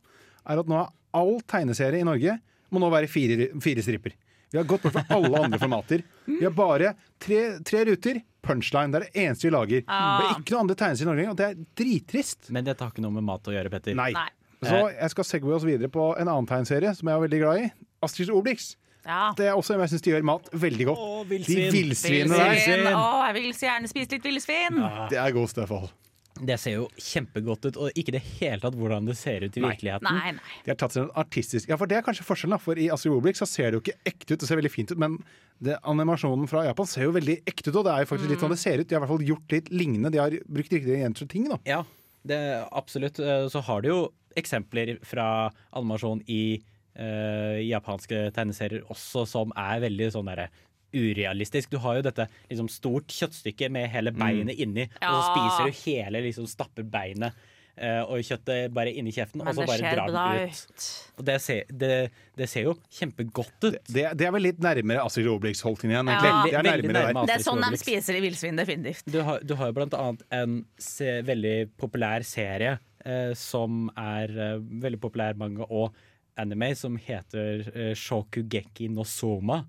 D: er at nå er all tegneserie i Norge må nå være fire, fire striper. Vi har gått bort fra alle andre formater. Vi har bare tre, tre ruter. Punchline. Det er det eneste vi lager.
F: Ah.
D: Det er ikke noe andre tegneserier i Norge, og det er drittrist.
E: Men dette har ikke noe med mat å gjøre, Petter.
D: Nei.
F: Nei.
D: Så jeg skal segwe oss videre på en annen tegnserie som jeg er veldig glad i. Astrid Obelix.
F: ja.
D: Det er også en jeg syns de gjør mat veldig godt.
E: Å,
D: de
E: villsvin.
D: villsvinene der.
F: Villsvin. Å, jeg vil så gjerne spise litt villsvin.
D: Det er god stuff. all.
E: Det ser jo kjempegodt ut, og ikke i det hele tatt hvordan det ser ut i virkeligheten.
F: Nei, nei.
D: De har tatt seg en artistisk Ja, for det er kanskje forskjellen, da. For i Astrid Obelix så ser det jo ikke ekte ut, det ser veldig fint ut, men det, animasjonen fra Japan ser jo veldig ekte ut, og det er jo faktisk
E: Mm.
D: litt sånn det ser ut. De har i hvert fall gjort litt lignende. De har brukt riktige jenter og ting, da.
E: Ja, det, absolutt. Eh, Så har du jo eksempler fra animasjon i eh, japanske tegneserier også, som er veldig sånn derre urealistisk. Du har jo dette liksom, stort kjøttstykket med hele beinet inni, og så
F: Ja.
E: spiser du hele, liksom stapper beinet eh, og kjøttet bare inni kjeften, og
F: Men
E: så
F: det
E: bare
F: ser
E: drar
F: bra
E: den ut.
F: ut.
E: Og det ser, det, det ser jo kjempegodt ut.
D: Det, det er vel litt nærmere Astrid Obelix-holdningen igjen.
F: Ja.
D: egentlig. Det er
E: Veldig- veldig
D: nærmere der.
E: nærme.
F: Det er sånn de
E: Astrid Obelix.
F: spiser i villsvin, definitivt.
E: Du har, du har jo blant annet en se, veldig populær serie eh, som er eh, veldig populær manga og anime, som heter eh, Shokugeki no Soma.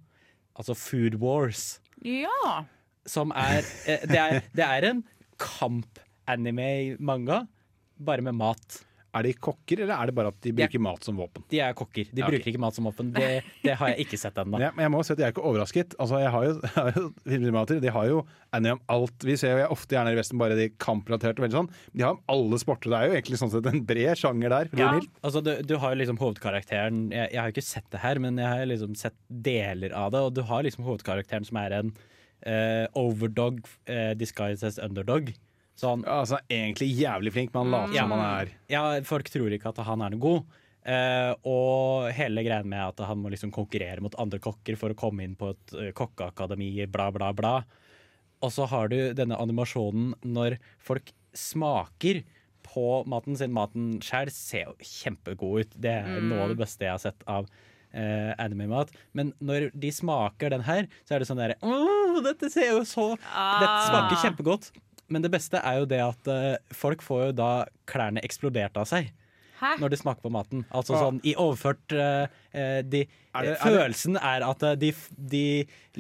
E: Altså Food Wars.
F: Ja.
E: Som er eh, det, er, det er en kamp-anime-manga, bare med mat.
D: Er de kokker, eller er det bare at de bruker mat som våpen?
E: De er kokker. De
D: Ja, ok.
E: bruker ikke mat som våpen. Det, det har jeg ikke sett ennå.
D: Ja, men jeg må si at jeg er ikke overrasket. Altså, jeg har jo, jeg har jo filmdramater, de har jo anime om alt. Vi ser jo jeg ofte gjerne i Vesten bare de kamprelaterte og veldig sånn. De har om alle sporter. Det er jo egentlig sånn sett en bred sjanger der. for å si det mildt.
E: Altså, du, du har jo liksom hovedkarakteren jeg, jeg har jo ikke sett det her, men jeg har liksom sett deler av det. Og du har liksom hovedkarakteren som er en eh, overdog eh, disguised as underdog. Så han,
D: Ja, altså, han er egentlig jævlig flink, men han later
E: Mm. ja,
D: som han er
E: ja, folk tror ikke at han er noe god. Eh, og hele greia med at han må liksom konkurrere mot andre kokker for å komme inn på et eh, kokkeakademi, bla, bla, bla. Og så har du denne animasjonen når folk smaker på maten sin. Maten sjøl ser jo kjempegod ut. Det er noe av det beste jeg har sett av eh, anime-mat. Men når de smaker den her, så er det sånn derre «Åh, Dette ser jo så Dette smaker kjempegodt. Men det beste er jo det at eh, folk får jo da klærne eksplodert av seg.
F: Hæ?
E: Når de smaker på maten. Altså sånn i overført eh, eh, de,
D: Er det- er det-
E: Følelsen er at eh, de, f- de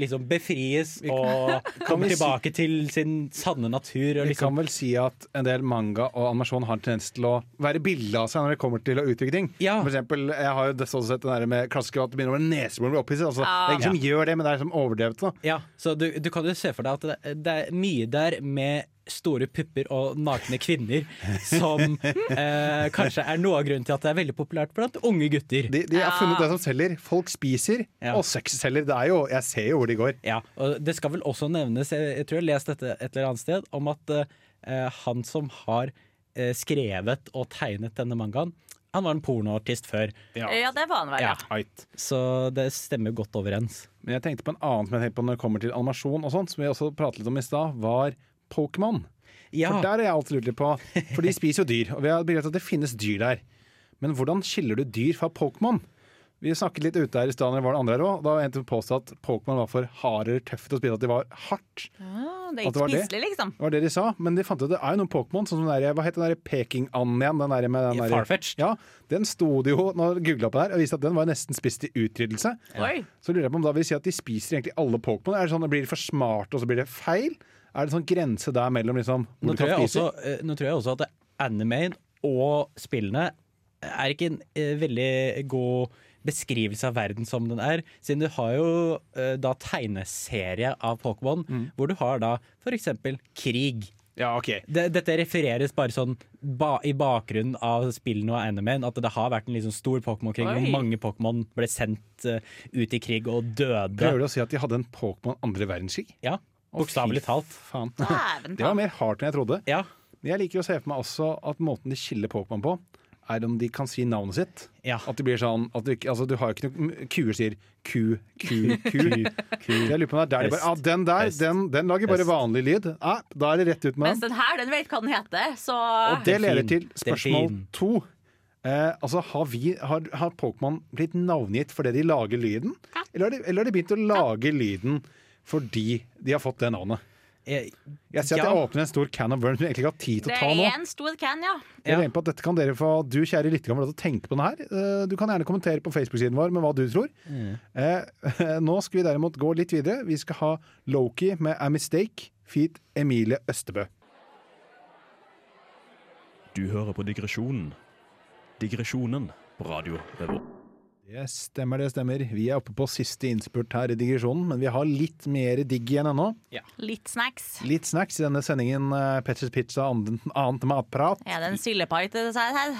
E: liksom befries og kommer
D: vi si-
E: tilbake til sin sanne natur. Og
D: Vi kan
E: liksom,
D: vel si at en del manga og animasjon har en tendens til å være bilde av seg når det kommer til å utvikle ting.
E: Ja.
D: For eksempel, jeg har jo dessverre sett det der med klassiker at det begynner å bli neseblod og bli opphisset. Altså,
E: Ah.
D: Det er ingen som gjør det, men det er som overdrevet. Da.
E: ja, så du, du kan jo se for deg at det, det er mye der med store pupper og nakne kvinner som eh, kanskje er noe av grunnen til at det er veldig populært blant unge gutter.
D: De, de har funnet det som selger. Folk spiser,
E: Ah. Ja.
D: og sex selger. Det er jo, jeg ser jo hvor de går.
E: Ja, og Det skal vel også nevnes, jeg, jeg tror jeg har lest dette et eller annet sted, om at eh, han som har eh, skrevet og tegnet denne mangaen, han var en pornoartist før.
F: Ja, det var han vel, ja.
E: Så det stemmer godt overens.
D: Men jeg tenkte på en annen som jeg tenkte på når det kommer til animasjon og sånt, som vi også pratet litt om i stad, var Pokémon.
E: Ja,
D: For der har jeg alltid lurt litt på, for de spiser jo dyr, og vi har begrepet at det finnes dyr der. Men hvordan skiller du dyr fra Pokémon? Vi snakket litt ute her i stedet når det var det andre her også, og da var en som påstod at Pokémon var for harde eller tøffe til å spise, at de var hardt.
F: Ah, Det er
D: At det
F: ikke
D: var det?
F: spiselig, liksom.
D: Det var det de sa, men de fant ut at det er jo noen Pokémon, sånn som den der, hva heter den der Peking-anden igjen? Den der med den der,
E: Farfetch'd.
D: Ja, den sto det jo, nå googlet jeg på det her, og viste at den var nesten spist i utryddelse.
F: Oi.
D: Så lurer jeg på om da vil si at de spiser egentlig alle Pokémon. Er det sånn, blir de for smarte, og så blir det feil? Er det en sånn grense der mellom liksom, hvor
E: nå
D: du kan
E: tror, jeg
D: spise?
E: også, eh, nå tror jeg også at animeen og spillene er ikke en eh, veldig god beskrivelse av verden som den er, siden du har jo eh, da tegneserie av Pokémon, hvor du har da f.eks. krig.
D: Ja, ok.
E: det, dette refereres bare sånn ba, i bakgrunnen av spillene og animen, at det har vært en liksom stor Pokémon-krig hvor
F: Oi.
E: mange Pokémon ble sendt eh, ut i krig og døde.
D: Prøver du å si at de hadde en Pokémon andre verdenskrig?
E: Ja, Bokstavelig talt.
D: Faen.
F: Dæven
D: Det var
F: ta.
D: mer hardt enn jeg trodde.
E: Ja,
D: Jeg liker å se for meg også at måten de skiller Pokémon på, er om de kan si navnet sitt.
E: Ja.
D: At det blir sånn at du, ikke- altså, du har jo ikke noe Kuer sier ku, ku, ku. Jeg lurer på om det er der de bare ah, Den der,
E: Hest.
D: den, den lager bare
E: Hest.
D: vanlig lyd. Ah, da er det rett ut med den.
F: Mens den her, den vet hva den heter, så
D: Og det leder til
E: Delfin.
D: spørsmål
E: Delfin.
D: to. Eh, altså, har, vi- har, har Pokémon blitt navngitt fordi de lager lyden? Eller har de, eller har de begynt å lage lyden fordi de har fått det navnet?
E: jeg,
D: Jeg ser at
E: Ja.
D: jeg åpner en stor can of worms som jeg egentlig ikke har tid til
F: det
D: å ta
F: er
D: nå.
F: en stor can, ja.
D: Jeg regner på at dette kan dere få, Du kjære lytter, kan få lov til å tenke på den her. Eh, Du kan gjerne kommentere på Facebook-siden vår med hva du tror.
F: Mm.
D: Eh, Nå skal vi derimot gå litt videre. Vi skal ha Loki med A Mistake, feat. Emilie Østebø.
B: Du hører på digresjonen. Digresjonen på radio Revolt.
D: Det stemmer, det stemmer. Vi er oppe på siste innspurt her i digresjonen, men vi har litt mer digg igjen ennå.
F: Litt snacks.
D: Litt snacks i denne sendingen eh, Petters Pizza annet, annet matprat.
F: Er det en sildepai til dessert her?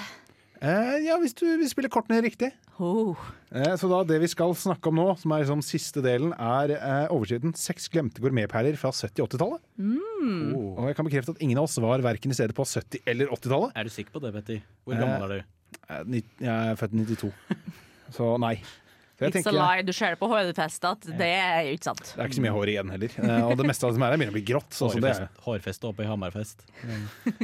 D: Eh, ja, hvis du vil spille kortene riktig.
F: Oh.
D: Eh, Så da det vi skal snakke om nå, som er liksom siste delen, er eh, overskriften 'Seks glemte gourmetperler fra 70- og 80-tallet'.
F: Mm.
D: Oh. Og jeg kan bekrefte at ingen av oss var verken i stedet på 70- eller 80-tallet.
E: er du sikker på det, Betty? Hvor gammel er du?
D: Eh, ni- Jeg er født i 92, så nei. Så jeg
F: It's
D: tenker,
F: a lie. Du ser det på hodefestet at det er jo ikke sant.
D: det er ikke så mye hår igjen heller. Eh, Og det meste av det som er her, begynner å bli grått. Så, så det er
E: Hårfest, hårfeste oppe i Hamarfest.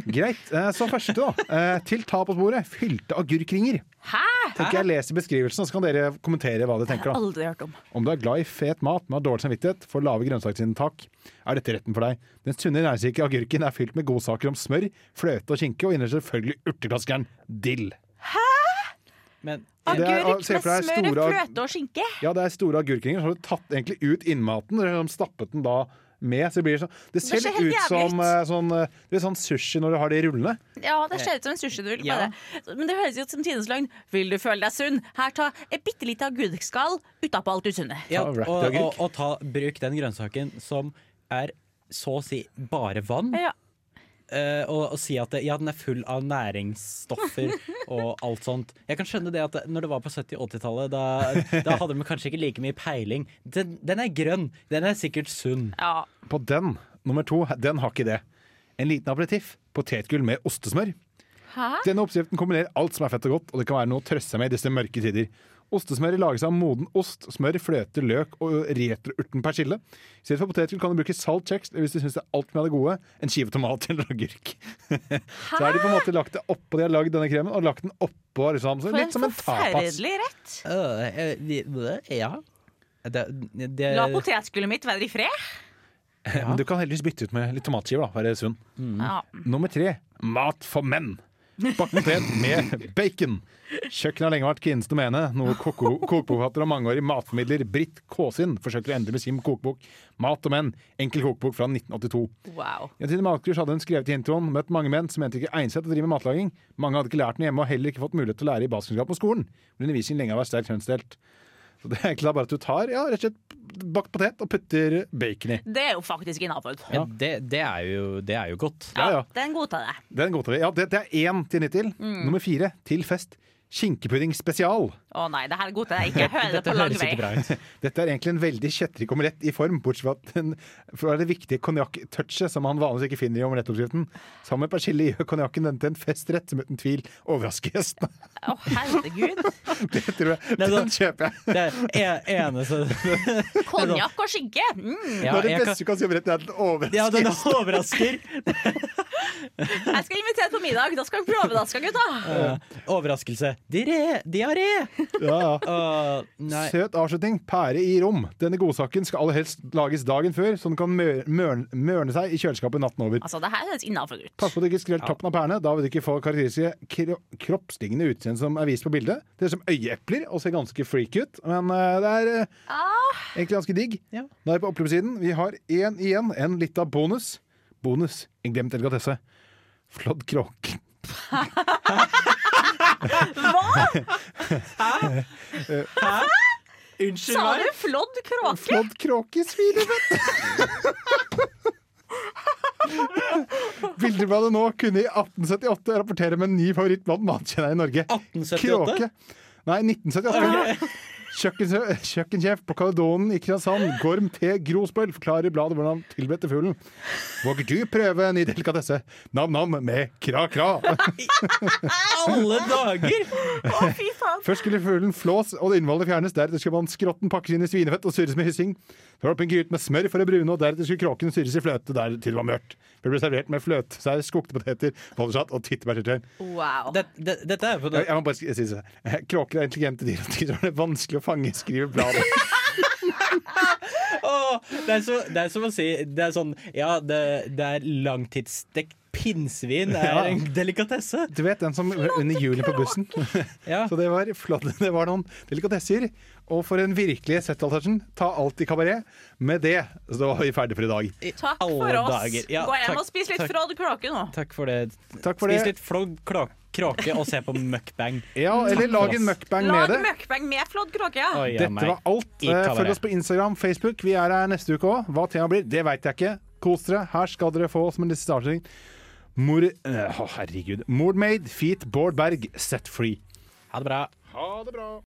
D: Greit. Eh, Så første, da. Eh, Til tap på sporet. Fylte agurkringer.
F: Hæ?
D: Tenker jeg leser beskrivelsen, og så kan dere kommentere hva dere tenker. da.
F: Aldri hørt om.
D: Om du er glad i fet mat, men har dårlig samvittighet for lave grønnsaksinntak, er dette retten for deg. Den sunne, næringsrike agurken er fylt med godsaker om smør, fløte og skinke, og inneholder selvfølgelig urteklaskeren dill.
E: Men eh,
D: Det er-
F: Agurk
D: se
F: med
D: for deg
F: smør,
D: store-
F: fløte og skinke.
D: Ja, det er store agurkringer, så har du tatt egentlig ut innmaten, eller har de stappet den da med, så det blir sånn Det ser
F: ser
D: litt
F: helt
D: ut
F: jævlig
D: som
F: ut.
D: eh, sånn, eh, det er sånn sushi når du har det i rullene.
F: Ja, det ser ut som en sushidull.
E: Ja.
F: bare. Men det høres jo ut som tidens løgn. Vil du føle deg sunn? Her, ta et bitte lite agurkskall utapå alt usunne.
E: ja,
D: Ta wrapped
E: og,
D: agurk.
E: og, og ta, bruk den grønnsaken som er så å si bare vann,
F: Ja.
E: eh, og, og si at det, ja, den er full av næringsstoffer og alt sånt. Jeg kan skjønne det at det- når det var på 70- og 80-tallet, da, da hadde de kanskje ikke like mye peiling. Den, den er grønn, den er sikkert sunn.
F: ja.
D: På den, nummer to, den har ikke det. En liten aperitiff, potetgull med ostesmør.
F: Hæ?
D: Denne oppskriften kombinerer alt som er fett og godt, og det kan være noe å trøste seg med i disse mørke tider. Ostesmør lages av moden ost, smør, fløte, løk og retrourten persille. I stedet for potetgull kan du bruke salt kjeks, eller hvis du syns det er alt med det gode, en skive tomat eller agurk. Så har de på en måte lagt det oppå de har lagd denne kremen, og lagt den oppå liksom, så
F: For
D: litt
F: en
D: som en tapas.
F: forferdelig rett!
E: Øh, ja. Det, det,
D: Eh.
F: La potetgullet mitt være i fred.
D: Men du kan heldigvis bytte ut med litt tomatskiver, da, for å være sunn.
F: Ja.
D: Nummer tre mat for menn. Bakt potet med bacon. Kjøkkenet har lenge vært kvinnens domene, noe koko- kokbokforfatter og mangeårig matformidler Britt Kåsin forsøker å endre med sin kokebok Mat og menn, enkel kokebok fra 1982.
F: Wow.
D: I en tid i matkurs hadde hun skrevet i introen, møtt mange menn som mente ikke egnet seg til å drive med matlaging. Mange hadde ikke lært den hjemme og heller ikke fått mulighet til å lære i basiskunnskap på skolen. Hvor undervisningen lenge har vært sterkt kjønnsdelt. Så det er egentlig da bare at du tar ja, rett og slett bakt potet og putter bacon i.
F: Det er jo faktisk innafor. Ja,
E: men det, det, er jo, det er jo godt.
D: Ja, ja.
F: Den godtar jeg.
D: Den godtar vi. Ja, det, det er én til nytt til.
E: Mm.
D: Nummer fire til fest. Skinkepudding spesial.
F: Å nei, det her godtar jeg ikke. Jeg hører det på lang vei.
E: ut.
D: Dette er egentlig en veldig kjetrig omelett i form, bortsett fra at den fra det viktige konjakk-touchet som han vanligvis ikke finner i omelettoppskriften. Sammen med persille gjør konjakken denne til en festrett som uten tvil overrasker gjestene.
F: Å, herregud.
D: Det tror jeg.
E: Nei, da-
D: Den kjøper jeg.
E: Det er en- eneste
F: Konjakk og skinke! Mm.
D: Det
E: ja,
D: er det
E: jeg kan-
D: beste du kan si om retten, er at den
E: ja,
D: overrasker
E: den
D: gjestene.
E: overrasker.
F: Jeg skal invitere på middag. Da skal vi prøve, da skal gutta.
E: Eh, overraskelse. Diaré! Diaré!
D: Ja, ja.
E: Åh, nei.
D: Søt avslutning. Pære i rom. Denne godsaken skal aller helst lages dagen før, så den kan mør mørn- mørne seg i kjøleskapet natten over.
F: Altså, det her høres innafor ut.
D: Pass på at du ikke skreller toppen av pærene. Da vil du ikke få karakteristiske kro kroppslignende utseende som er vist på bildet. Det er som øyeepler og ser ganske freak ut, men eh, det er eh, egentlig ganske digg.
E: Ja.
D: Nå er vi på oppløpssiden. Vi har én igjen, en lita bonus. Bonus, en glemt delikatesse. Flådd kråke.
F: Hva?
E: Unnskyld
F: Sa du flådd kråke?
D: Flådd kråke svinefett! Bildebladet nå kunne i 1878 rapportere med en ny favoritt blant matkjennere i Norge.
E: 1878?
D: Kråke. Nei, 1978. Kjøkkensjef, kjøkkensjef på Kaledonen i Kristiansand, Gorm T. Grosbøll, forklarer i bladet hvordan han tilberedte fuglen. Våger du prøve en ny delikatesse? Nam-nam med kra-kra.
E: Alle dager!
F: Å, fy faen.
D: Først skulle fuglen flås og det innholdet fjernes. Deretter skulle man skrotten pakkes inn i svinefett og surres med hyssing. Så var det pinket ut med smør for å brune, og deretter skulle kråken surres i fløte der til det var mørkt. Det ble servert med fløtesaus, kokte poteter, bollesjatt og tyttebærsyltetøy.
F: Wow.
E: Det, det, dette er på
D: Jeg jeg må bare si det. sånn. Kråker er intelligente dyr, og de som er vanskelig å fange, skriver bladet.
E: Åh, det, er så, det er som å si Det er sånn Ja, det, det er langtidsstekt pinnsvin. Det
D: Ja.
E: er en delikatesse.
D: Du vet den som under julen på bussen?
E: Ja.
D: Så det var flott. Det var noen delikatesser. Og for den virkelige settaltasjen, ta alt i kabaret. Med det så var vi ferdige for i dag.
F: Takk
E: alle
F: for oss.
E: dager. Ja,
F: Gå hjem
E: takk,
F: og spis litt
E: takk.
F: flådd kråke nå.
E: Takk for det.
D: Takk for
E: Spis
D: det.
E: litt flådd klå- kråke og se på mukbang.
D: Ja, eller lag en mukbang med
F: Lag
D: det.
F: mukbang med flådd kråke. ja.
E: Oi, ja,
D: Dette
E: meg.
D: var alt. Eh,
E: I kabaret.
D: Følg oss på Instagram, Facebook. Vi er her neste uke òg. Hva temaet blir, det veit jeg ikke. Kos dere. Her skal dere få som en liste avslutning. Mor... eh, Å, herregud. Mordmaid, feat Bård Berg, set free.
E: Ha det bra.
D: Ha det bra.